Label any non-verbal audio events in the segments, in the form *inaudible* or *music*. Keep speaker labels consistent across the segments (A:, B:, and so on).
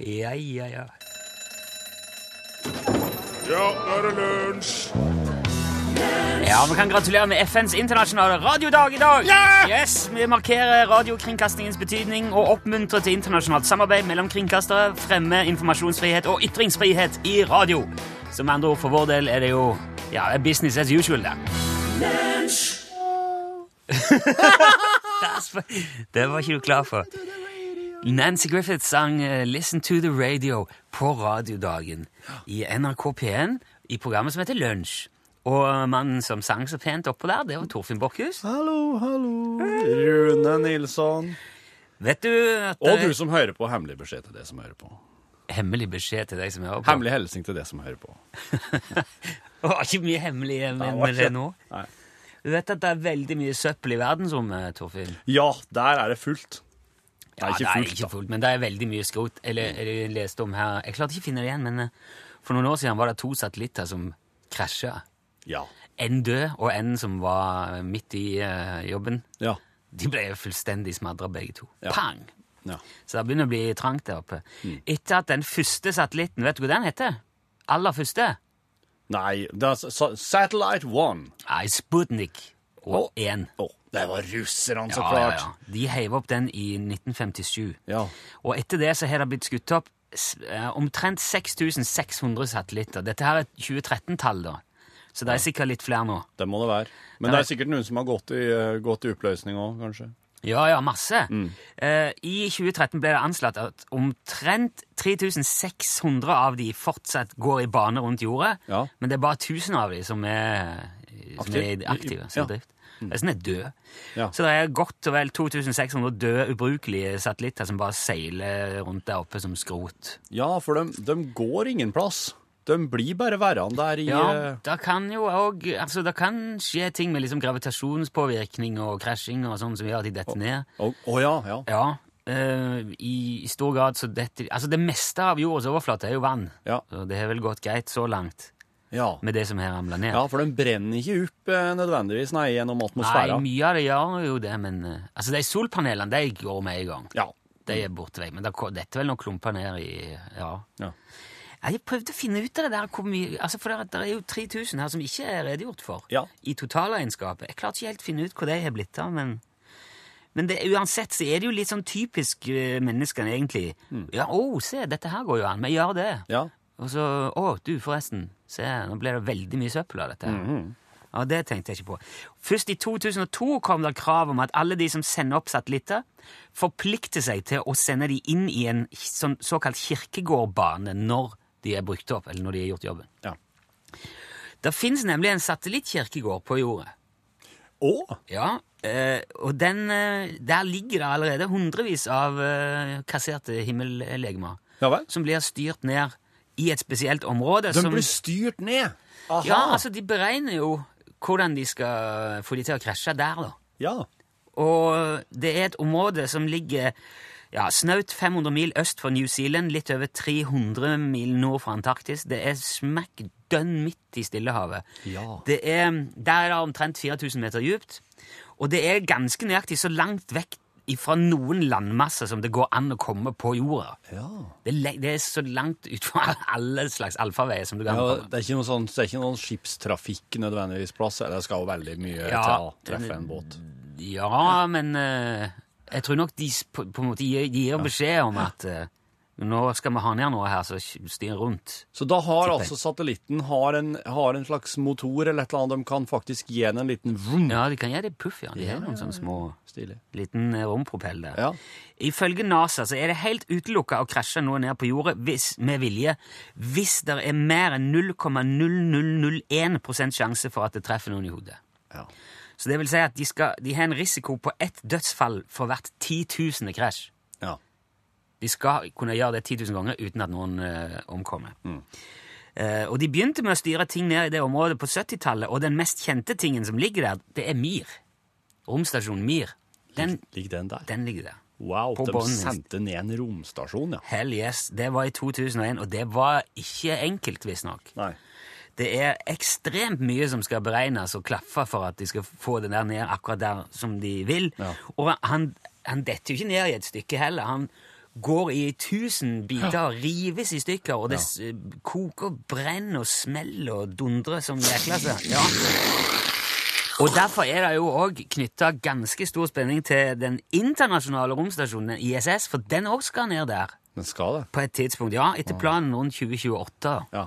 A: Ai, ai, ai.
B: Ja, nå er det lunsj!
A: Ja, Vi kan gratulere med FNs internasjonale radiodag i dag.
B: Ja!
A: Yes, Vi markerer radiokringkastingens betydning og oppmuntrer til internasjonalt samarbeid mellom kringkastere, fremmer informasjonsfrihet og ytringsfrihet i radio. Så med andre ord, for vår del er det jo ja, det er business as usual, det. *laughs* Lunsj! det var ikke du klar for. Nancy Griffith sang eh, Listen to the Radio på radiodagen i NRK P1 i programmet som heter Lunsj. Og mannen som sang så pent oppå der, det var Torfinn Bokkhus.
C: Hallo, hallo. Rune Nilsson.
A: Vet du at
D: Og
A: eh,
D: du som hører på, hemmelig beskjed til det som hører på.
A: Hemmelig beskjed til deg som hører på.
D: Hemmelig hilsen til det som hører på.
A: Det var ikke mye hemmelig eh, med,
D: var
A: med det
D: ikke-
A: nå.
D: Nei.
A: Du vet at det er veldig mye søppel i verdensrommet, Torfinn?
D: Ja, der er det fullt. Det
A: Ja,
D: er ikke
A: det er
D: fullt,
A: ikke
D: da. Mm.
A: fullt, men det er veldig mye skrot. Eller, eller jeg leste om her Jeg klarte ikke å finne det igjen, men eh, for noen år siden var det to satellitter som krasja.
D: Ja.
A: En død, og en som var midt i eh, jobben.
D: Ja.
A: De ble fullstendig smadra, begge to.
D: Ja. Mm.
A: Pang!
D: ja.
A: Så det begynner å bli trangt der oppe. Etter at den første satellitten Vet du hva den heter? Aller første?
D: Nei, det er s- s- Satellite One.
A: Nei, Sputnik. Og
D: Å.
A: én.
D: Å, det var russerne, så
A: Ja, ja,
D: klart.
A: ja. De heiv opp den i 1957.
D: Ja.
A: Og etter det så har det blitt skutt opp s- eh, omtrent 6600 satellitter. Dette her er 2013-tall, da. Så det er sikkert litt flere nå.
D: Det må det være. Men
A: Nei.
D: det er sikkert noen som har gått i, eh, gått i oppløsning òg, kanskje.
A: Ja, ja, masse.
D: Mm.
A: Eh, I 2013 ble det anslått at omtrent 3600 av de fortsatt går i bane rundt jordet,
D: Ja.
A: men det er bare 1000 av de som er, som
D: Aktiv.
A: er aktive.
D: Ja.
A: Som drift. Resten er døde.
D: Ja.
A: Så det er godt og vel 2600 døde, ubrukelige satellitter som bare seiler rundt der oppe som skrot.
D: Ja, for de, går ingen plass. De blir bare værende der i
A: Ja,
D: eh,
A: det kan jo òg altså, Det kan skje ting med liksom gravitasjonspåvirkning og krasjing og sånn som gjør at de detter ned.
D: Å å ja, ja.
A: Ja. eh, i, I stor grad så detter Altså, det meste av jordas overflate er jo vann.
D: Ja.
A: Så det har vel gått greit så langt
D: Ja.
A: med det som har ramla ned.
D: ja, for de brenner ikke opp eh, nødvendigvis, nei, gjennom
A: Nei,
D: atmosfæren.
A: mye av det gjør jo det, men eh, Altså, de solpanelene, de går med i gang.
D: Ja.
A: De er borte vekk. Men det ko- detter vel noen klumper ned i Ja.
D: Ja.
A: altså,
D: Ja.
A: i totalregnskapet. Jeg klarte ikke helt å finne ut hvor de har blitt av, men men det, uansett så er det jo litt sånn typisk eh, menneskene, egentlig.
D: Mm.
A: Ja, 'Å, se, dette her går jo an. Vi gjør det.'
D: ja.
A: Og så 'Å, du, forresten. Se, nå ble det veldig mye søppel av dette.' her. Ja, Det tenkte jeg ikke på. Først i 2002 kom det krav om at alle de som sender opp satellitter, forplikter seg til å sende de inn i en sånn, såkalt kirkegårdbane når de er brukt opp, eller når de har gjort jobben.
D: Ja.
A: Det fins nemlig en satellittkirkegård på jordet.
D: Å!
A: Ja, eh, og den, eh, der ligger det allerede hundrevis av eh, kasserte himmellegemer
D: Ja vel?
A: som blir styrt ned i et spesielt område.
D: De
A: som,
D: blir styrt ned! Aha.
A: ja, altså De beregner jo hvordan de skal få de til å krasje der, da.
D: ja.
A: Og det er et område som ligger ja, snaut 500 mil øst for New Zealand, litt over 300 mil nord for Antarktis. Det er smekk dønn midt i Stillehavet.
D: Ja.
A: Det er, der er det omtrent 4000 meter dypt, og det er ganske nøyaktig så langt vekk fra noen landmasser som det går an å komme på jorda.
D: Ja.
A: Det, er le- det er så langt utfor *laughs* alle slags alfaveier som du kan
D: Ja,
A: komme.
D: det er ikke noe sånn, det er ikke noen skipstrafikk nødvendigvis plass. eller Det skal jo veldig mye
A: Ja,
D: til å treffe en båt.
A: Ja, men eh, jeg tror nok de s- på, på en måte gir, gir beskjed om at eh, nå skal vi ha ned noe her, så sk- styr rundt.
D: Så da har
A: Tipper jeg.
D: altså satellitten har en, har en slags motor eller et eller annet. De kan faktisk gi den en liten vroom.
A: Ja, de kan gjøre det puff, ja. De har noen sånne små
D: Stilig.
A: liten eh, rompropell der.
D: Ja.
A: Ifølge NASA så er det helt utelukka å krasje noe ned på jordet hvis, med vilje hvis det er mer enn 0,0001 sjanse for at det treffer noen i hodet.
D: Ja.
A: Så det vil si at de, skal, de har en risiko på ett dødsfall for hvert titusende krasj.
D: Ja.
A: De skal kunne gjøre det 10 000 ganger uten at noen eh, omkommer. Eh, og de begynte med å styre ting ned i det området på 70-tallet, og den mest kjente tingen som ligger der, det er Mir. Romstasjonen Mir. Den,
D: Ligger den der?
A: den ligger der.
D: Wow,
A: På
D: de
A: bånden.
D: sendte ned en romstasjon, ja.
A: Hell yes. Det var i 2001, og det var ikke enkelt, visstnok.
D: Nei.
A: Det er ekstremt mye som skal beregnes og klaffe for at de skal få den der ned akkurat der som de vil.
D: Ja.
A: Og han, han detter jo ikke ned i et stykke heller. Han går i tusen biter og rives i stykker, og det s- eh, koker, brenner og smeller og dundrer som jækla seg. Ja. Og derfor er det jo òg knytta ganske stor spenning til den internasjonale romstasjonen ISS, for den òg skal ned der
D: Den skal det.
A: på et tidspunkt. Ja, etter planen rundt 2028.
D: Ja.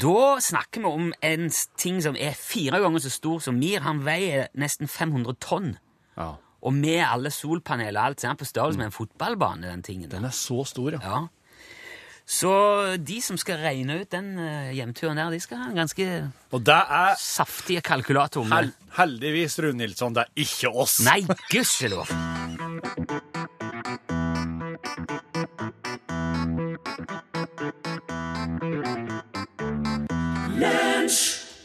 A: Da snakker vi om en s- ting som er fire ganger så stor som Mir. Han veier nesten 500 tonn.
D: ja.
A: Og med alle solpaneler og alt, så er han på størrelse med en fotballbane. den tingen der.
D: Den er så stor, ja.
A: Ja. Så de som skal regne ut den eh, hjemturen der, de skal ha en ganske
D: Og det er
A: saftig kalkulator. med-
D: hel heldigvis, Rune Nilsson, det er ikke oss.
A: Nei, gudskjelov!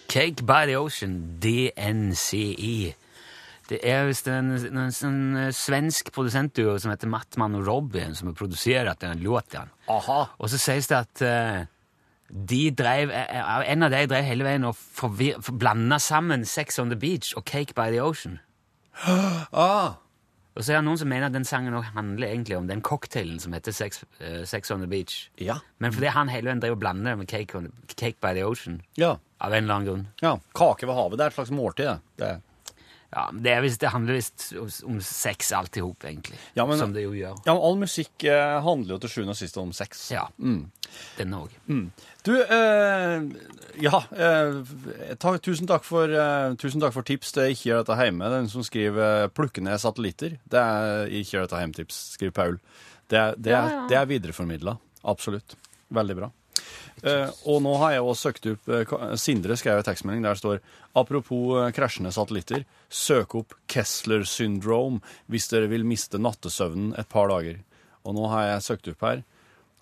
A: Cake by the Ocean, DNCE. E. Det er visst en, en, sånn, eh, svensk produsentduo som heter Mattman og Robin, som har produsert den låten.
D: Aha.
A: Og så sies det at eh, de drev, eh, eh, en av de drev hele veien og forvir- for- blanda sammen Sex on the Beach og Cake by the Ocean.
D: Ah.
A: Og så er det noen som mener at den sangen også handler egentlig om den cocktailen som heter Sex, eh, Sex on the Beach.
D: Ja.
A: Men fordi han hele veien drev og blander det med cake, on, cake by the Ocean.
D: Ja.
A: Av en eller annen grunn.
D: ja. Kake ved havet, det er et slags måltid, det. det. er-
A: Ja, men det, er visst- det handler visst om, om sex alt i hop, egentlig.
D: Ja, men-
A: som det jo gjør.
D: Ja, men all musikk eh, handler jo til sjuende og sist om sex.
A: Ja.
D: Mm.
A: Denne òg.
D: Du, eh, ja eh, ta- tusen, takk for, eh, tusen takk for tips. Det er ikke gjør dette hjemme. Den som skriver eh, 'plukke ned satellitter', det er ikke gjør dette hjemme-tips, skriver Paul. Det, er- det, er- det er videreformidla. Absolutt. Veldig bra. Eh, og nå har jeg også søkt opp eh, ka- Sindre skrev en tekstmelding der det står Apropos eh, krasjende satellitter, søk opp Kessler syndrome hvis dere vil miste nattesøvnen et par dager. Og nå har jeg søkt opp her,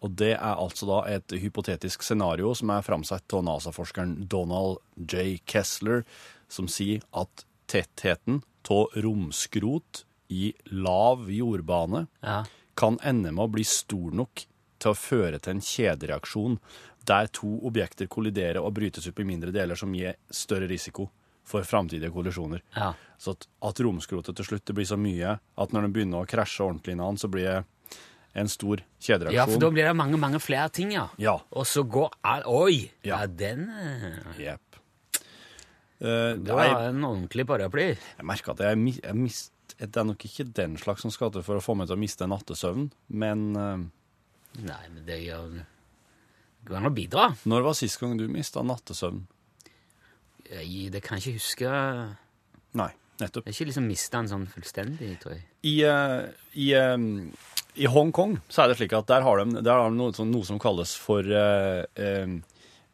D: og det er altså da et hypotetisk scenario som er framsatt av NASA-forskeren Donald J. Kessler, som sier at tettheten av romskrot i lav jordbane
A: Ja.
D: kan ende med å bli stor nok til å føre til en kjedereaksjon der to objekter kolliderer og brytes opp i mindre deler som gir større risiko for framtidige kollisjoner.
A: Ja.
D: Så at, at romskrotet til slutt det blir så mye at når den begynner å krasje ordentlig inn i den, så blir det en stor kjedereaksjon.
A: ja, for da blir det mange, mange flere ting, ja.
D: Ja.
A: Og så går all Oi! Ja,
D: Ja.
A: den eh,
D: Jep. Eh,
A: Det
D: jeg,
A: var en ordentlig paraply.
D: jeg merker at jeg, mi- jeg mist, det er nok ikke den slags som skal til for å få meg til å miste nattesøvnen, men eh,
A: Nei, men det gjør Det går an å bidra.
D: når var sist gang du mista nattesøvnen?
A: Jeg, det kan jeg ikke huske. Jeg
D: Nei, nettopp.
A: har ikke liksom mista den sånn fullstendig, tror jeg.
D: I, eh, i, eh, i Hongkong så er det slik at der har de, der har de noe, som- noe som kalles for eh, eh,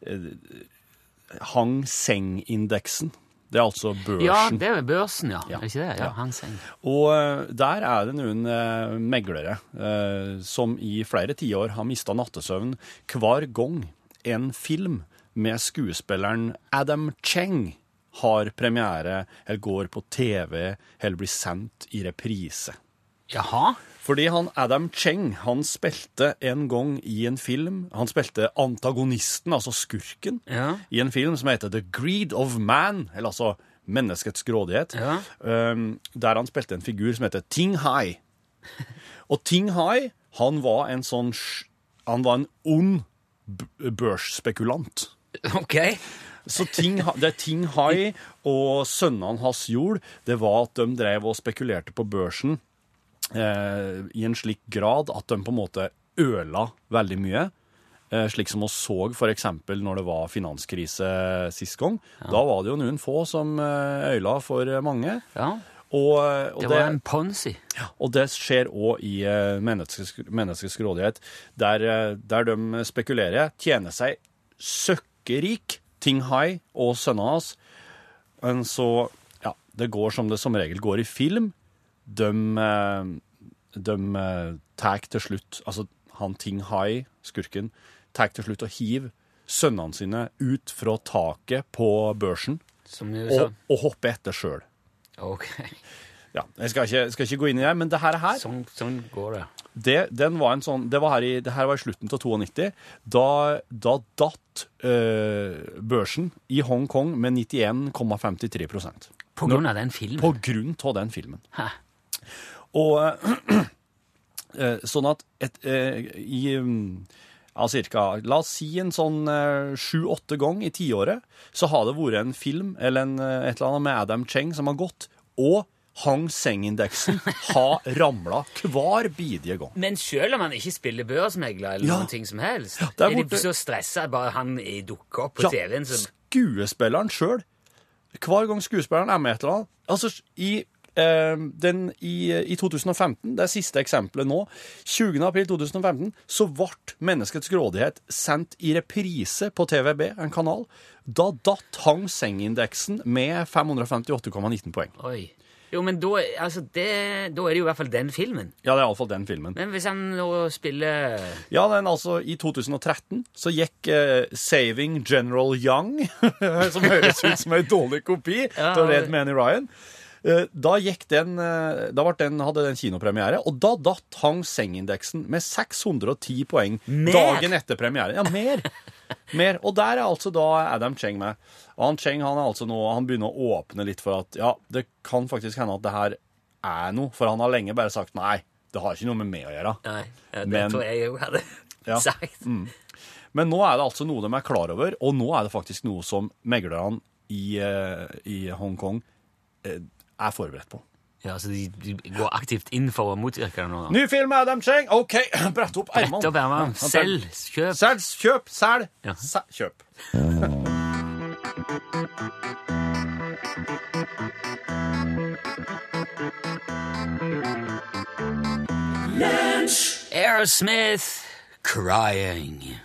D: eh, Hang Seng-indeksen. Det er altså børsen.
A: Ja, det er jo børsen, ja.
D: Ja.
A: Er det ikke det? Ja,
D: Ja.
A: Hang Seng.
D: Og eh, der er det noen eh, meglere eh, som i flere tiår har mista nattesøvn hver gang en film med skuespilleren Adam Cheng har premiere, eller går på TV, eller blir sendt i reprise.
A: Jaha?
D: Fordi han Adam Cheng, han spilte en gang i en film Han spilte antagonisten, altså skurken,
A: Ja.
D: i en film som heter The Greed of Man, eller altså Menneskets grådighet,
A: Ja.
D: um, der han spilte en figur som heter Ting Hai. Og Ting Hai, han var en sånn sj- Han var en ond b- børsspekulant.
A: *laughs* Ok.
D: Så ting, ha- det Ting Hai og sønnene hans gjorde, det var at de drev og spekulerte på børsen eh, i en slik grad at de på en måte øla veldig mye. Eh, slik som vi så f.eks. når det var finanskrise sist gang. Da var det jo noen få som eh, øyla for mange.
A: Ja,
D: Og, eh, og
A: det var en ponzi.
D: og det skjer òg i eh, menneskes, menneskets grådighet, der, eh, der de spekulerer, tjener seg søkkerik, Ting Hai og sønnene hans. Men så Ja, det går som det som regel går i film. De, eh, de eh, tar til slutt Altså, han Ting Hai, skurken, tar til slutt og hiver sønnene sine ut fra taket på børsen
A: Som du sa.
D: og, og hopper etter sjøl.
A: Ok.
D: Ja, jeg skal ikke, skal ikke gå inn i det, men det her, her
A: *laughs* Sånn, sånn går det.
D: det, den var en sånn, det, var her i, det her var i slutten av 92. Da, da datt eh, børsen i Hongkong med 91,53
A: På grunn av den filmen.
D: på grunn av den filmen.
A: Hæ?
D: Og eh, *clears throat* Eh, Sånn at et, eh, i mm, ja, cirka, la oss si en sånn sju-åtte gang i tiåret, så har det vært en film eller en, eh, et eller annet med Adam Cheng som har gått, og Hang Seng-indeksen har ramla hver bidige gang.
A: Men selv om han ikke spiller børsmegler eller
D: Ja.
A: noen ting som helst,
D: der
A: er de
D: borte-
A: så stressa at bare han eh, dukker opp på TV-en. Så...
D: skuespilleren sjøl. Hver gang skuespilleren er med et eller annet. Altså, i, eh, den, i, i 2015, det er siste eksempelet nå, 20. april 2015, så ble Menneskets grådighet sendt i reprise på TVB, en kanal. Da datt Hang Seng-indeksen med 558,19 poeng.
A: Oi. Jo, men da, altså, det, da er det jo i hvert fall den filmen.
D: Ja, det er iallfall den filmen.
A: Men hvis han nå spiller
D: Ja, den altså I 2013 så gikk eh, 'Saving General Young', *laughs* som høres ut som en dårlig kopi
A: *laughs* Ja,
D: til
A: det-
D: Red Manny Ryan. Eh, Da gikk den, eh, da ble den, hadde den kinopremiere, og da datt Hang Seng-indeksen med 610 poeng
A: Mer?
D: dagen etter premieren. Ja, mer! mer. Og der er altså da Adam Cheng med. Og han Cheng han er altså nå, han begynner å åpne litt for at ja, det kan faktisk hende at det her er noe, for han har lenge bare sagt nei, det har ikke noe med meg å gjøre.
A: Nei, ja, det
D: Men-
A: tror jeg jeg hadde
D: Ja.
A: *laughs* sagt.
D: Men nå er det altså noe de er klar over, og nå er det faktisk noe som meglerne i, eh, i Hongkong eh, er forberedt på.
A: Ja, Så de, de går aktivt inn for å motvirke det nå? da.
D: Ny film med Adam Cheng! OK, *clears throat* brett opp
A: Brett opp ermene.
D: Ja,
A: Selg, kjøp.
D: Selg, kjøp, selg,
A: Ja.
D: se- kjøp.
A: Aerosmith Crying.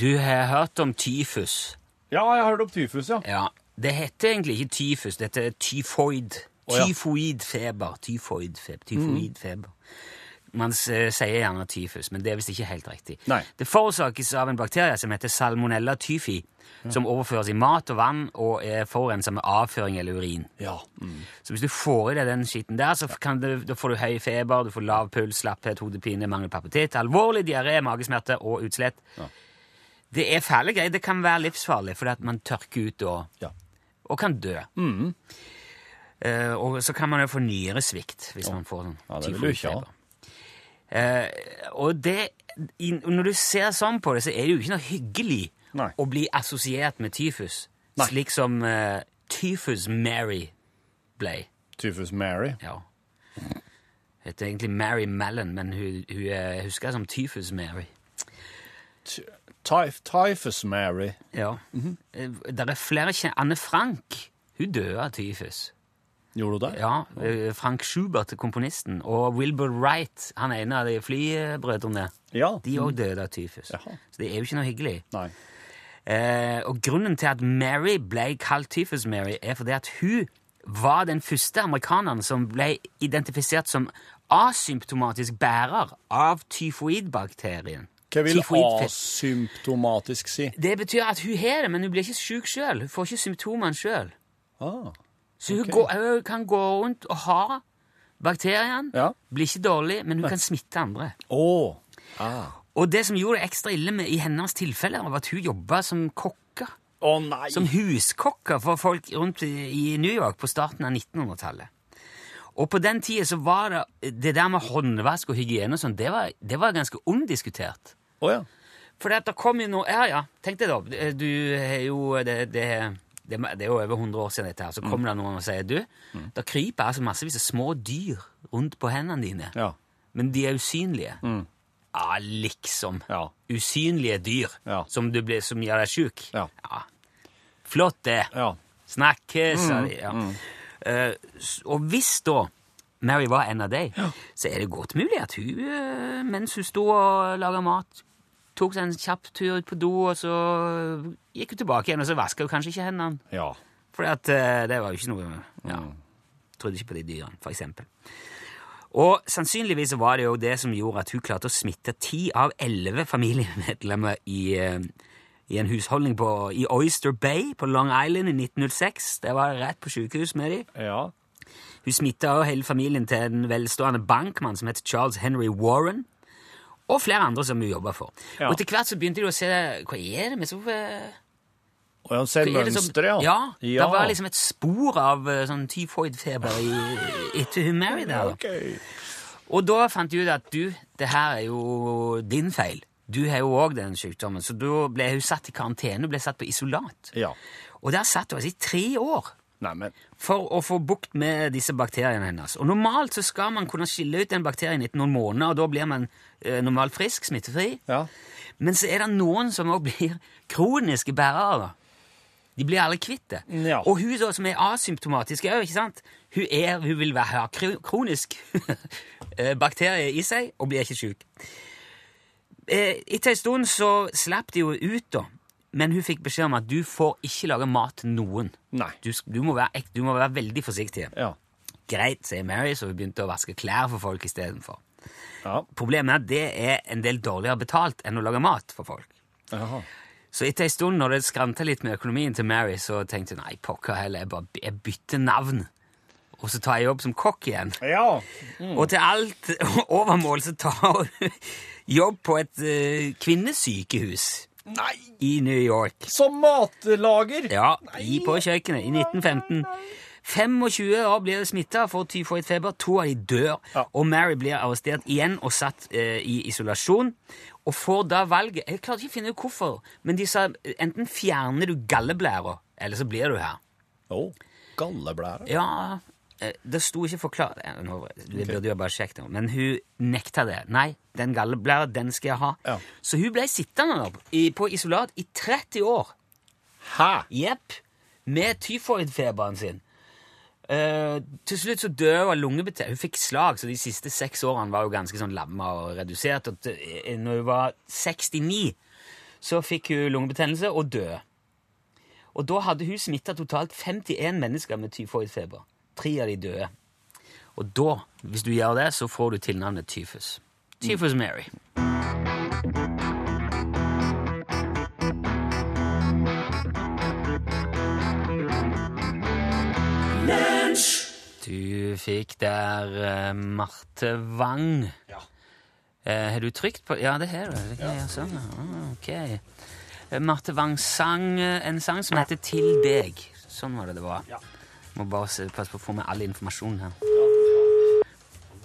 A: Du har hørt om tyfus.
D: Ja, jeg har hørt om tyfus, ja.
A: Ja, Det heter egentlig ikke tyfus, dette er tyfoid.
D: Å, ja. Mm.
A: Tyfoidfeber. Tyfoidfeber. tyfoidfeber. Man s- eh, sier gjerne tyfus, men det er visst ikke helt riktig.
D: Nei.
A: Det forårsakes av en bakterie som heter salmonella tyfi, som overføres i mat og vann og er forurensa med avføring eller urin.
D: Ja, mm.
A: Så hvis du får i deg den skitten der, så kan du, da får du høy feber, du får lav puls, slapphet, hodepine, mangel på appetitt, alvorlig diaré, magesmerter og utslett.
D: Ja.
A: Det er fæle greier. Det kan være livsfarlig, fordi at man tørker ut og,
D: ja.
A: og kan dø.
D: Mm.
A: Eh, og så kan man jo få nyresvikt hvis man får sånn
D: Ja, det vil du ikke ha.
A: tyfonfeber. Eh, og det, i, når du ser sånn på det, så er det jo ikke noe hyggelig
D: Nei.
A: å bli assosiert med tyfus,
D: Nei.
A: slik som eh, Tyfus Mary ble.
D: Tyfus Mary.
A: Ja. Heter egentlig Mary Mallon, men hun, eh, hun er huska som Tyfus Mary.
D: Tyf, tyfus Mary.
A: Ja. Mhm. Eh, Der er flere kjen- Anne Frank hun døde av tyfus.
D: Gjorde du det?
A: Ja, eh, Frank Schubert, komponisten, og Wilbur Wright, han ene av de flybrødrene,
D: Ja.
A: de òg døde av tyfus.
D: Jaha.
A: Så det er jo ikke noe hyggelig.
D: Nei.
A: Eh, og grunnen til at Mary ble kalt Tyfus-Mary, er fordi at hun var den første amerikaneren som ble identifisert som asymptomatisk bærer av tyfoidbakterien.
D: Hva vil
A: Tyfoidfett.
D: asymptomatisk si?
A: Det betyr at hun har det, men hun blir ikke syk sjøl. Hun får ikke symptomene sjøl.
D: Ah.
A: Så hun,
D: Ok.
A: går, hun kan gå rundt og ha bakterien,
D: Ja.
A: blir ikke dårlig, men hun kan smitte andre.
D: Å. Ah.
A: Og det som gjorde det ekstra ille med, i hennes tilfelle, var at hun jobba som kokke.
D: Å, nei!
A: som huskokker for folk rundt i i New York på starten av 1900-tallet. Og på den tida så var det det der med håndvask og hygiene og sånn, det var, det var ganske omdiskutert.
D: Å, ja.
A: For det at det kom jo noe Ja, ja, tenk deg da. Du har jo det, det, det, det er jo over 100 år siden dette
D: Mm.
A: her. Så kommer det noen og sier du, det kryper altså massevis av små dyr rundt på hendene dine.
D: ja. Mm.
A: Men de er usynlige. Ja, liksom.
D: Ja.
A: Usynlige dyr
D: Ja.
A: som, du blir, som gjør deg sjuk.
D: Ja.
A: Flott, det.
D: Ja.
A: Snakke, sa de. Ja. Eh, s- og hvis da Mary var en av deg, så er det godt mulig at hun, eh, mens hun sto og laga mat, tok seg en kjapp tur ut på do, og så gikk hun tilbake igjen, og så vaska hun kanskje ikke hendene.
D: ja.
A: For eh, det var jo ikke noe ja, Trodde ikke på de dyrene, for eksempel. Og sannsynligvis så var det jo det som gjorde at hun klarte å smitte ti av elleve familiemedlemmer i, eh, i en husholdning på, i Oyster Bay på Long Island i 1906. Det var rett på sykehus med de.
D: Ja.
A: Hun smitta også hele familien til en velstående bankmann som het Charles Henry Warren, og flere andre som hun jobba for.
D: Ja.
A: Og til hvert så begynte de å se Hva er det med så eh,
D: Og jeg ser
A: hva er det som-
D: mønsteret, ja.
A: ja. Det var liksom et spor av eh, sånn tyfoidfeber i, etter hun Mary der. da.
D: Ok.
A: Og da fant de ut at du, det her er jo din feil. Du har jo òg den sykdommen. Så da ble hun satt i karantene, ble satt på isolat.
D: Ja.
A: Og der satt hun altså i tre år
D: Neimen.
A: for å få bukt med disse bakteriene hennes. Og normalt så skal man kunne skille ut den bakterien etter noen måneder, og da blir man eh, normalt frisk, smittefri.
D: Ja.
A: Men så er det noen som også blir kroniske bærere. da. De blir alle kvitt det.
D: Ja.
A: Og hun da, som er asymptomatisk òg, ikke sant? Hun, er, hun vil være, ha kro- kronisk *laughs* eh, bakterie i seg og blir ikke syk. Eh, Etter en stund så slapp de jo ut, da. Men hun fikk beskjed om at du får ikke lage mat til noen.
D: Nei.
A: Du, sk- du, må være, ek- du må være veldig forsiktig.
D: Ja.
A: Greit, sier Mary, så hun begynte å vaske klær for folk istedenfor.
D: Ja.
A: Problemet er at det er en del dårligere betalt enn å lage mat for folk.
D: Jaha.
A: Så etter en stund når det skranta litt med økonomien til Mary, så tenkte hun nei, pokker heller, jeg, bare, jeg bytter navn. Og så tar jeg jobb som kokk igjen.
D: Ja.
A: Og til alt *laughs* overmål så tar *laughs* hun jobb på et eh, kvinnesykehus
D: Nei!
A: i New York.
D: Som matlager!
A: Ja, i, på kjøkkenet i 1915. 25 år blir smitta for tyfoidfeber, to av de dør,
D: Ja.
A: og Mary blir arrestert igjen og satt eh, i isolasjon. Og får da valget Jeg klarte ikke å finne ut hvorfor, men de sa enten fjerner du galleblæra, eller så blir du her.
D: Å, galleblære.
A: Ja, eh, det sto ikke forklart eh, nå, Du burde jo bare sjekke det, men hun nekta det. Nei, den galleblæra, den skal jeg ha.
D: Ja.
A: Så hun ble sittende da, i, på isolat i 30 år.
D: Hæ?
A: Jepp. Med tyfoidfeberen sin. Eh, til slutt så døde hun av lungebetennelse. Hun fikk slag, så de siste seks årene var hun ganske sånn lamma og redusert. Og t- eh, når hun var 69, så fikk hun lungebetennelse og døde. Og da hadde hun smitta totalt 51 mennesker med tyfoidfeber. Tre av de døde. Og da, hvis du gjør det, så får du tilnavnet tyfus. Tyfus Mary. Du fikk der eh, Marte Wang.
D: Ja.
A: Eh, har du trykt på Ja, det har du. Det kan jeg gjøre sånn, ja. Ah, ok. Eh, Marte Wang sang eh, en sang som heter Til deg. Sånn var det det var. Må bare se- passe på å få med all informasjon her.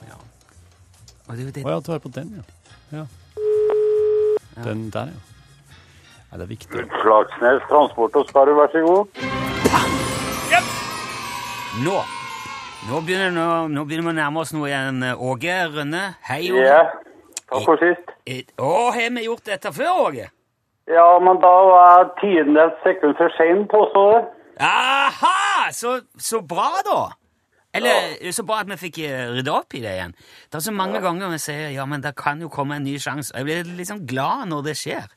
A: Ja. Og det er jo det
D: Å ja, du er på den, ja. ja. Den der, ja. Ja, det er viktig.
E: Flaksnes Transport og Skarv, vær så god.
A: Nå! Nå begynner, nå, nå begynner vi å nærme oss noe igjen. eh, Åge Rønne, hei, Åge.
E: Ja, takk for sist.
A: Eh, Å, har vi gjort dette før, Åge?
E: Ja, men da var jeg tiendes sekund for sein, påstår jeg.
A: Aha! Så, så bra, da! Eller så bra at vi fikk eh, rydda opp i det igjen. Det er så mange ganger vi sier ja, men det kan jo komme en ny sjanse. Og Jeg blir liksom glad når det skjer.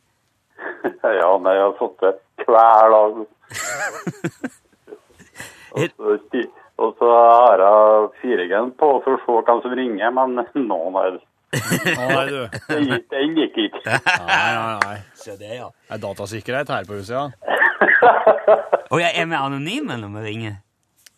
E: *laughs* Ja, nei, jeg har sittet hver *laughs* dag. Og så sti- Og så har jeg 4G-en på for å se hvem som ringer, men *laughs* noen har
D: Å, nei, du.
E: Den gikk- den gikk *laughs* ikke.
D: Nei, nei, nei.
A: Så det, ja.
D: Det er datasikkerhet her på huset, ja.
A: Og jeg er vi anonyme når vi ringer?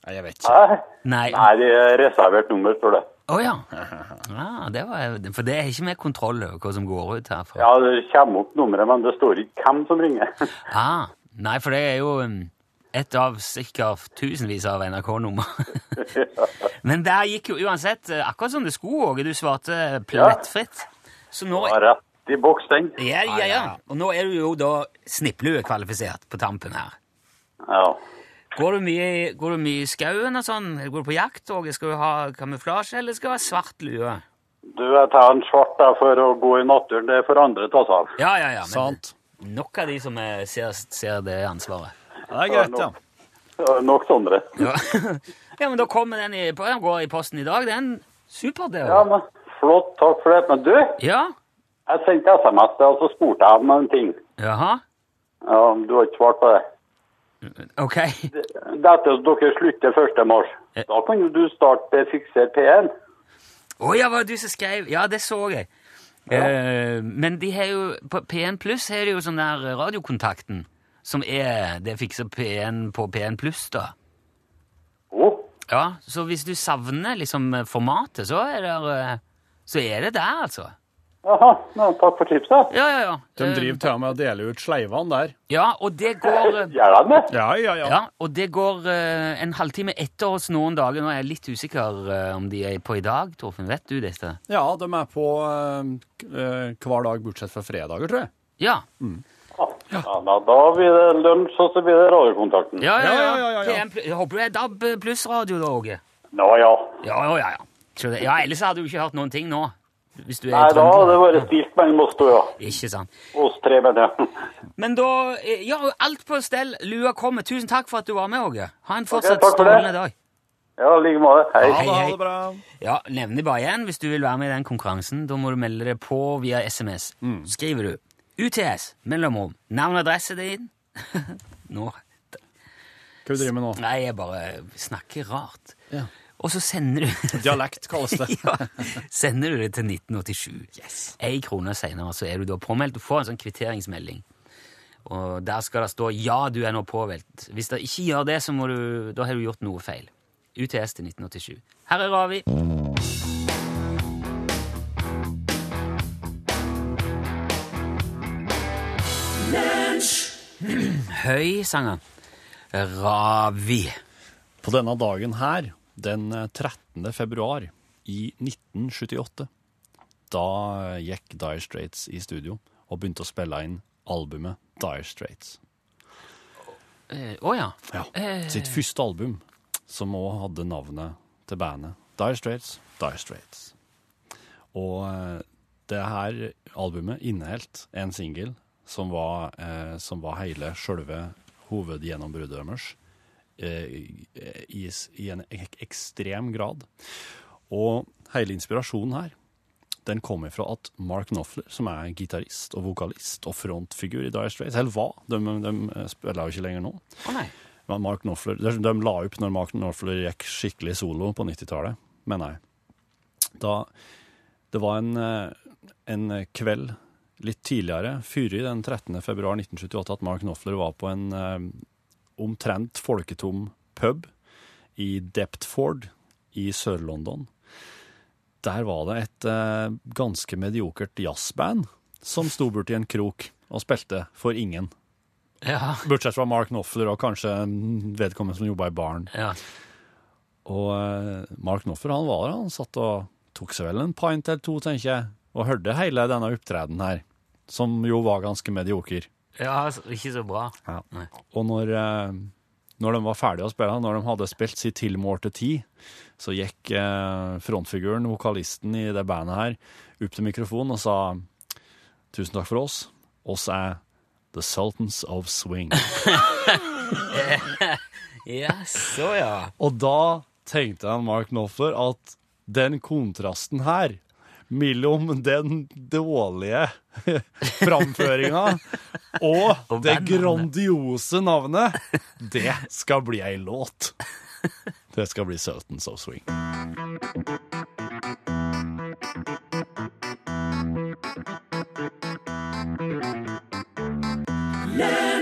D: Nei, jeg vet ikke.
E: Hæ?
A: Nei. Å
E: Nei, det er reservert nummer, står det.
A: ja. *laughs* ja det var, for det er ikke mer kontroll over hva som går ut herfra.
E: Ja, det kommer opp nummeret, men det står ikke hvem som ringer.
A: Ah, nei, for det er jo um, et av sikkert tusenvis av NRK-nummer. *laughs* Men der gikk jo uansett eh, akkurat som det skulle, Åge. Du svarte plettfritt. Så nå
E: Ja, *laughs* Rett i boks, den.
A: Ja, ja,
D: ja,
A: ja.
D: ja.
A: Og nå er du jo da snipplue-kvalifisert på tampen her.
E: Ja.
A: Går du mye, i- går du mye i skauen og sånn? Går du på jakt? Og skal du ha kamuflasje, eller skal du ha svart lue?
E: Du, jeg tar en svart da, for å gå i naturen. Det får andre ta seg av.
A: Ja, ja, ja. Men
D: Sant.
A: nok av de som eh, ser, ser det ansvaret.
D: Ja, det er greit, ja.
E: Ja, Nok sånn sånne.
A: Ja, *laughs* ja men da kommer den i, den går i posten i dag. Den supert, det.
E: Ja,
A: Ja.
E: men flott, takk for det. Men du, jeg
A: ja?
E: sendte SMS til, og så spurte jeg om en ting.
A: Jaha?
E: Ja, men du har ikke svart på det.
A: Ok.
E: Dette at dere slutter 1. mars. Da kan jo du starte Fikser P1.
A: Å ja, var det du som skrev? Ja, det så jeg. Eh, men de har jo, på P1 Pluss har de jo sånn der radiokontakten, som er Det fikser P1 på P1 Pluss, da.
E: Å,
A: Ja, eh, Så hvis du savner liksom formatet, så er det, eh, så er det der, altså.
E: Jaha, nei, takk for tipset.
A: Ja, ja, ja.
D: De
A: Eh,
D: driver til og med og deler ut sleivene der.
A: Ja, og det går
E: *laughs*
A: eh,
E: Gjør de det?
D: Ja, ja, ja.
A: ja, og det går eh, en halvtime etter oss noen dager. Nå er jeg litt usikker eh, om de er på i dag, Torfinn. Vet du dette?
D: Ja, de er på eh, k- eh, hver dag bortsett fra fredager, tror jeg.
A: Ja.
E: Ja, da, da blir det lunsj, og så blir det radiokontakten.
A: Ja, ja, ja.
D: Ja, ja, ja, ja.
A: PM, jeg håper du er DAB pluss-radio, da, Åge.
E: Nå ja.
A: Ja, ja, ja. ja. Så det- ja, ellers hadde du ikke hørt noen ting nå. Hvis du er i
E: Nei, da
A: Trøndelag.
E: hadde det vært stilt mellom oss to, ja.
A: Ikke sant.
E: Oss tre, mener jeg. *laughs*
A: Men da eh, Ja, alt på stell. Lua kommer. Tusen takk for at du var med, Åge. Ha en fortsatt
E: takk for det.
A: strålende dag.
E: Ja, i like måte. Hei.
A: Hei, hei.
D: bra.
A: Ja, nevner bare igjen, hvis du vil være med i den konkurransen, da må du melde deg på via SMS.
E: Mm.
A: Så Skriver du UTS, mellomrom, navn og adresse din *laughs* Nå
D: Hva driver vi med nå?
A: Nei, jeg bare snakker rart.
D: Ja.
A: Og så sender du *laughs*
D: Dialekt kalles det.
A: ja, Sender du det til 1987. Ei krone seinere så er du da påmeldt. Du får en sånn kvitteringsmelding. Og der skal det stå 'Ja, du er nå påmeldt'. Hvis det ikke gjør det, så må du, da har du gjort noe feil. UTS til 1987. Her er Ravi. Høy sanger. Ravi.
D: *laughs* På denne dagen her, den 13. februar i 1978, da gikk Dire Straits i studio og begynte å spille inn albumet Dire Straits.
A: Å eh, å ja.
D: Ja. Sitt første album, som òg hadde navnet til bandet Dire Straits, Dire Straits. Og eh, det her albumet inneholdt en singel som, var, eh, som var hele sjølve hovedgjennombruddet deres. Eh, i, s- I en ek ekstrem grad. Og hele inspirasjonen her den kom ifra at Mark Knopfler, som er gitarist og vokalist og frontfigur i Dire Straits, eller hva, de, de eh, spiller jo ikke lenger nå,
A: Å nei.
D: men Mark Knopfler, de, de la opp når Mark Knopfler gikk skikkelig solo på 90-tallet, mener jeg. Da, det var en, eh, en kveld litt tidligere, fyrig den 13. februar 1978, at Mark Knopfler var på en eh, omtrent folketom pub i Deptford i Sør-London. Der var det et eh, ganske mediokert jazzband som sto borti en krok og spilte for ingen.
A: Ja.
D: Bortsett fra Mark Knopfler og kanskje mm, vedkommende som jobba i baren.
A: ja.
D: Og eh, Mark Knopfler han var der, han satt og tok seg vel en pint eller to, tenker jeg, og hørte hele denne opptredenen her, som jo var ganske medioker.
A: Ja, altså, ikke så bra. Nei.
D: Og når, eh, når de var ferdige å spille, når de hadde spilt sitt tilmålte ti, så gikk eh, frontfiguren, vokalisten i det bandet her, opp til mikrofonen og sa tusen takk for oss. Oss er The Sultans of Swing.
A: Ja, så ja.
D: Og da tenkte jeg Mark Knopfler at den kontrasten her mellom den dårlige *laughs* framføringa og
A: Og
D: det
A: bandnavnet.
D: grandiose navnet, det skal bli ei låt. Det skal bli Sultans of Swing.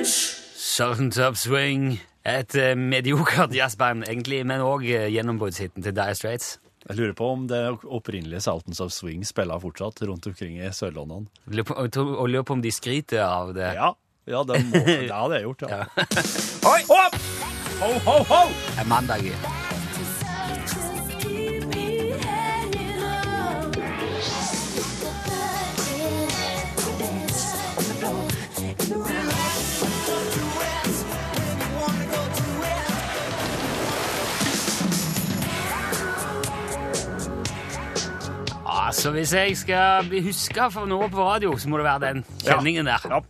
A: Sultans Upswing. Et eh, mediokert jazzband, egentlig, men òg uh, gjennombruddshiten til Dire Straits.
D: Jeg lurer på om det opprinnelige Sultans of Swing spiller fortsatt rundt omkring i Sør-London.
A: Lurer på- Og tror- og lurer på om de skryter av det.
D: Ja, ja, det må det hadde jeg gjort, *laughs* ja.
A: Oi!
D: Hopp! Ho, ho, ho!
A: Det er mandag. ja. Altså, Hvis jeg skal bli huska for noe på radio, så må det være den kjenningen der.
D: Ja.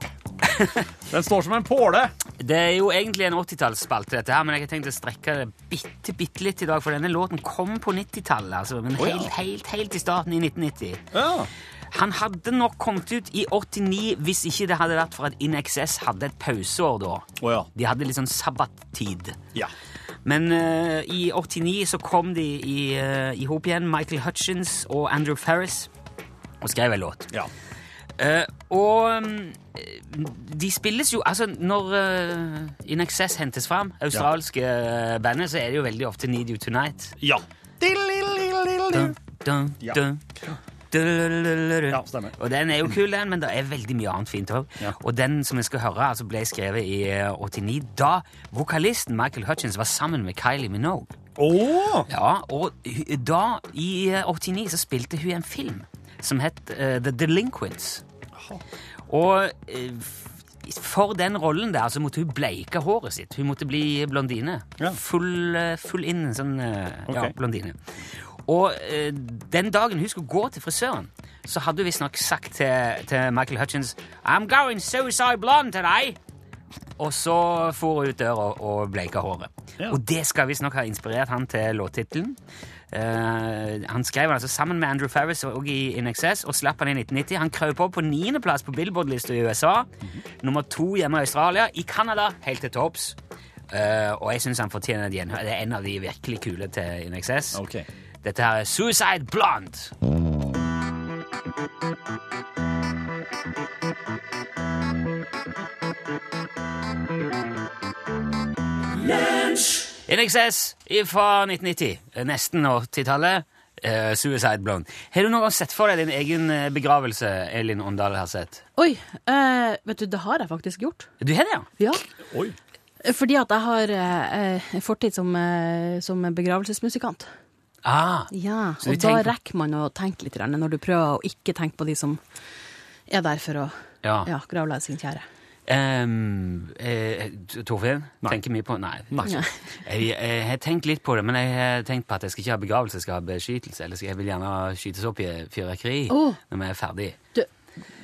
D: Den står som en påle.
A: Det er jo egentlig en 80-tallsspalte, dette her, men jeg har tenkt å strekke det bitte, bitte litt i dag, for denne låten kom på 90-tallet, altså, men
D: Å, ja.
A: helt, helt, helt i starten i 1990.
D: Ja.
A: Han hadde nok kommet ut i 89 hvis ikke det hadde vært for at In Excess hadde et pauseår da.
D: Å ja.
A: De hadde litt sånn sabbattid.
D: Ja.
A: Men eh, i 89 så kom de i uh, hop igjen, Michael Hutchins og Andrew Farris, og skrev en låt.
D: ja.
A: Eh, og mm, de spilles jo Altså, når eh, In Excess hentes fram, australske eh, bandet, så er det jo veldig ofte Need You Tonight.
D: Ja.
A: Dun, dun,
D: Ja.
A: dun. Ja,
D: stemmer.
A: Og den er jo kul, den, men det er veldig mye annet fint òg. Og den som vi skal høre, altså ble skrevet i eh, 89, da vokalisten Michael Hutchins var sammen med Kylie Minogue.
C: Åh!
A: Ja, Og hu- da, i eh, 89, så spilte hun en film som het eh, The Delinquents. Og eh, f- for den rollen der så måtte hun bleike håret sitt. Hun måtte bli blondine.
D: Ja.
A: Full, eh, full inn, sånn eh, ja,
D: Ok.
A: blondine. Og eh, den dagen hun skulle gå til frisøren, så hadde hun visstnok sagt til, til Michael Hutchins I'm going suicide blonde today! Og så for hun ut døra og bleika håret.
D: Ja.
A: Og det skal visstnok ha inspirert han til låttittelen. Eh, han skrev den altså sammen med Andrew Farris og i In Excess og slapp han i 1990. Han krøp opp på niendeplass på Billboard-lista i USA. Nummer to hjemme i Australia. I Canada helt til topps. Eh, og jeg syns han fortjener et gjenhør. Det er en av de virkelig kule til In Excess.
D: Ok.
A: Dette her er Suicide Blonde. In Excess fra 1990. eh, Nesten 80-tallet. eh, Suicide Blonde. Har du noen gang sett for deg din egen eh, begravelse, Elin Åndal har sett?
F: Oi, eh, vet du, det har jeg faktisk gjort.
A: Du har det, ja?
F: Ja.
D: Oi.
F: Fordi at jeg har eh, eh, fortid som, eh, som begravelsesmusikant.
A: Ah,
F: Ja,
A: Så du
F: og da
A: tenker-
F: rekker man å tenke litt grann, når du prøver å ikke tenke på de som er der for å
A: ja.
F: ja, gravlegge sin kjære.
A: Ehm, eh, Torfinn? Tenker mye på Nei.
F: Nei.
A: Jeg, jeg har tenkt litt på det, men jeg har tenkt på at jeg skal ikke ha begravelse, jeg skal ha beskytelse. Eller så jeg vil gjerne skytes opp i fyrverkeri
F: Åh.
A: når vi er ferdig.
F: Du,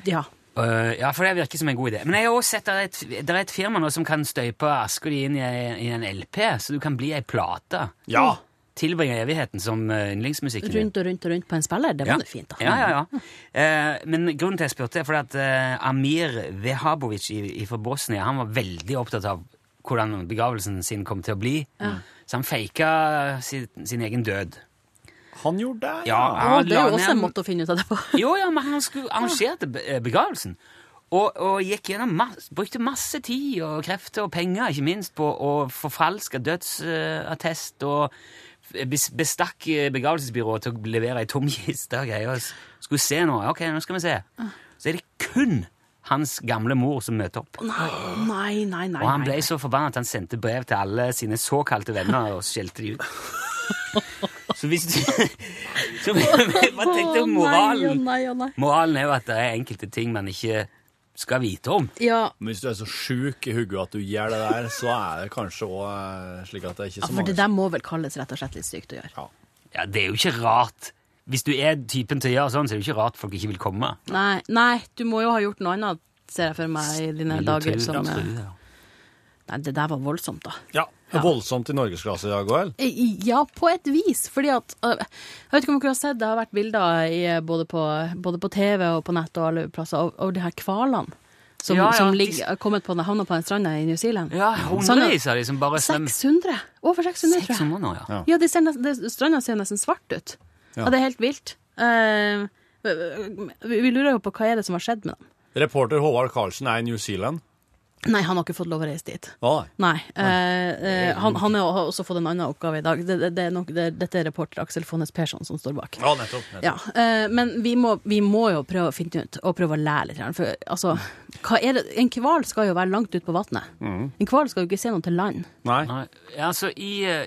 F: ja.
A: Øh, ja, for det virker som en god idé. Men jeg har også sett der er et, der er et firma nå som kan støype aska di inn i, i en LP, så du kan bli ei plate.
D: Ja.
A: Tilbringe evigheten som eh, yndlingsmusikken din.
F: Rundt og rundt og rundt på en spiller, det var nå Sånn fint, da.
A: Ja, ja, ja. Eh, men grunnen til at jeg spurte, er fordi at eh, Amir Vehabovic i- i- fra Bosnia han var veldig opptatt av hvordan begravelsen sin kom til å bli. Så han faka sin, sin egen død.
D: Han gjorde det,
A: Ja.
F: Å, det er
A: la
F: jo også
A: ned-
F: en måte å finne ut av det på.
A: Jo, ja, men han skulle arrangerte be- eh, begravelsen. Og, og gikk gjennom masse, brukte masse tid og krefter og penger, ikke minst, på å forfalske dødsattest og bes- bestakk eh, begravelsesbyrået til å levere ei tom kiste og greier. Og s- Skulle se nå. Ok, nå skal vi se. Så er det kun hans gamle mor som møter opp.
F: Nei, *laughs* nei, nei. nei,
A: Og han
F: nei.
A: ble så forbanna at han sendte brev til alle sine såkalte venner og skjelte de ut.
F: *laughs*
A: Så hvis du *laughs* Så hva tenkte
F: Å,
A: om
F: Nei, å
A: moralen?
F: nei, å nei.
A: Moralen er jo at det er enkelte ting man ikke skal vite om.
F: Ja,
D: Men hvis du er så sjuk i hodet at du gjør det der, så er det kanskje òg slik at det er ikke
F: ja,
D: så
F: for det
D: mange
F: der må vel kalles rett og slett litt sykt å gjøre.
D: Ja.
A: Ja, Det er jo ikke rart. Hvis du er typen til å gjøre sånn, så er det jo ikke rart folk ikke vil komme.
F: Nei, nei, du må jo ha gjort noe annet, ser jeg for meg, i dine
A: Vil jo
F: dager
A: tro-
F: som
A: tro
F: eh,
A: det, ja.
F: Nei, det der var voldsomt, da.
D: ja. Voldsomt i norgesklasse i dag òg, vel?
F: Eh, Ja, på et vis, fordi at eh, Jeg vet ikke om dere har sett, det har vært bilder i, eh, både, på, både på TV og på nett og alle plasser av, av de her hvalene som,
A: Ja, ja,
F: som
A: de-
F: ligger, har kommet på, havna på en strand i New Zealand.
A: Ja,
F: Sånn at-
A: hundrevis av de som bare svømmer.
F: 600! Over 600, tror jeg.
A: 600 nå, ja.
F: Ja, de ser nesten, det- stranda ser jo nesten svart ut. Ja. det er helt vilt. Eh, vi, vi lurer jo på hva er det som har skjedd med dem.
D: Reporter Håvard Karlsen er i New Zealand.
F: Nei, han har ikke fått lov å reise dit.
D: Ja, nei.
F: Nei. Eh, eh, han han er, har også fått en annen oppgave i dag. Det, det, det er nok, det, dette er reporter Aksel Fonnes Persson som står bak.
D: ja nettopp. nettopp.
F: Ja, eh, men vi må, vi må jo prøve å finne ut, og prøve å lære litt. grann, For altså, hva er det? En hval skal jo være langt ute på vannet.
D: Mm.
F: En hval skal jo ikke se noe til land.
D: Nei.
A: Nei, altså I eh,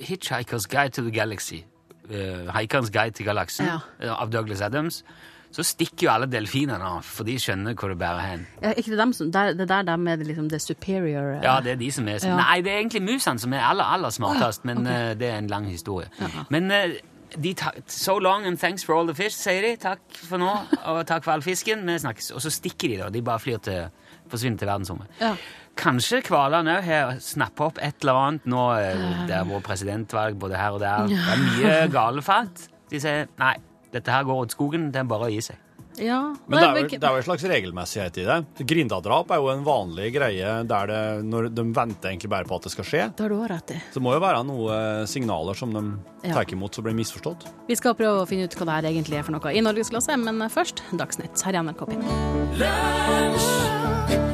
A: Hitchhiker's Guide to the Galaxy, eh, Hikerens guide til galaksen,
F: Ja.
A: eh, av Douglas Adams, så stikker jo alle delfinene av, for de skjønner hvor det bærer hen.
F: Er ikke det, dem som, der, det der dem er det liksom det superior eh,
A: Ja, det er de som er
F: Ja.
A: Nei, det er egentlig musene som er aller, aller smartest, men eh, det er en lang historie. Men eh, de ta So long and thanks for all the fish, sier de. Takk for nå, og takk for all fisken. Vi snakkes. Og så stikker de, da. De bare flyr til Forsvinner til verdensrommet.
F: Ja.
A: Kanskje hvalene òg har snappa opp et eller annet nå. eh, Det har vært presidentvalg både her og der. Det er mye galefat. De sier nei, dette her går ut skogen. Det er bare å gi seg.
F: ja.
D: Men det er, vel,
F: ikke-
D: det er jo en slags regelmessighet i det. Grindadrap er jo en vanlig greie der det, når de venter egentlig bare på at det skal skje.
F: det har du også rett i.
D: Så det må jo være noen signaler som de
F: Ja.
D: tar imot som blir misforstått.
F: Vi skal prøve å finne ut hva det her egentlig eh, er for noe i norgesklasse, men først Dagsnytt her i NRK P1.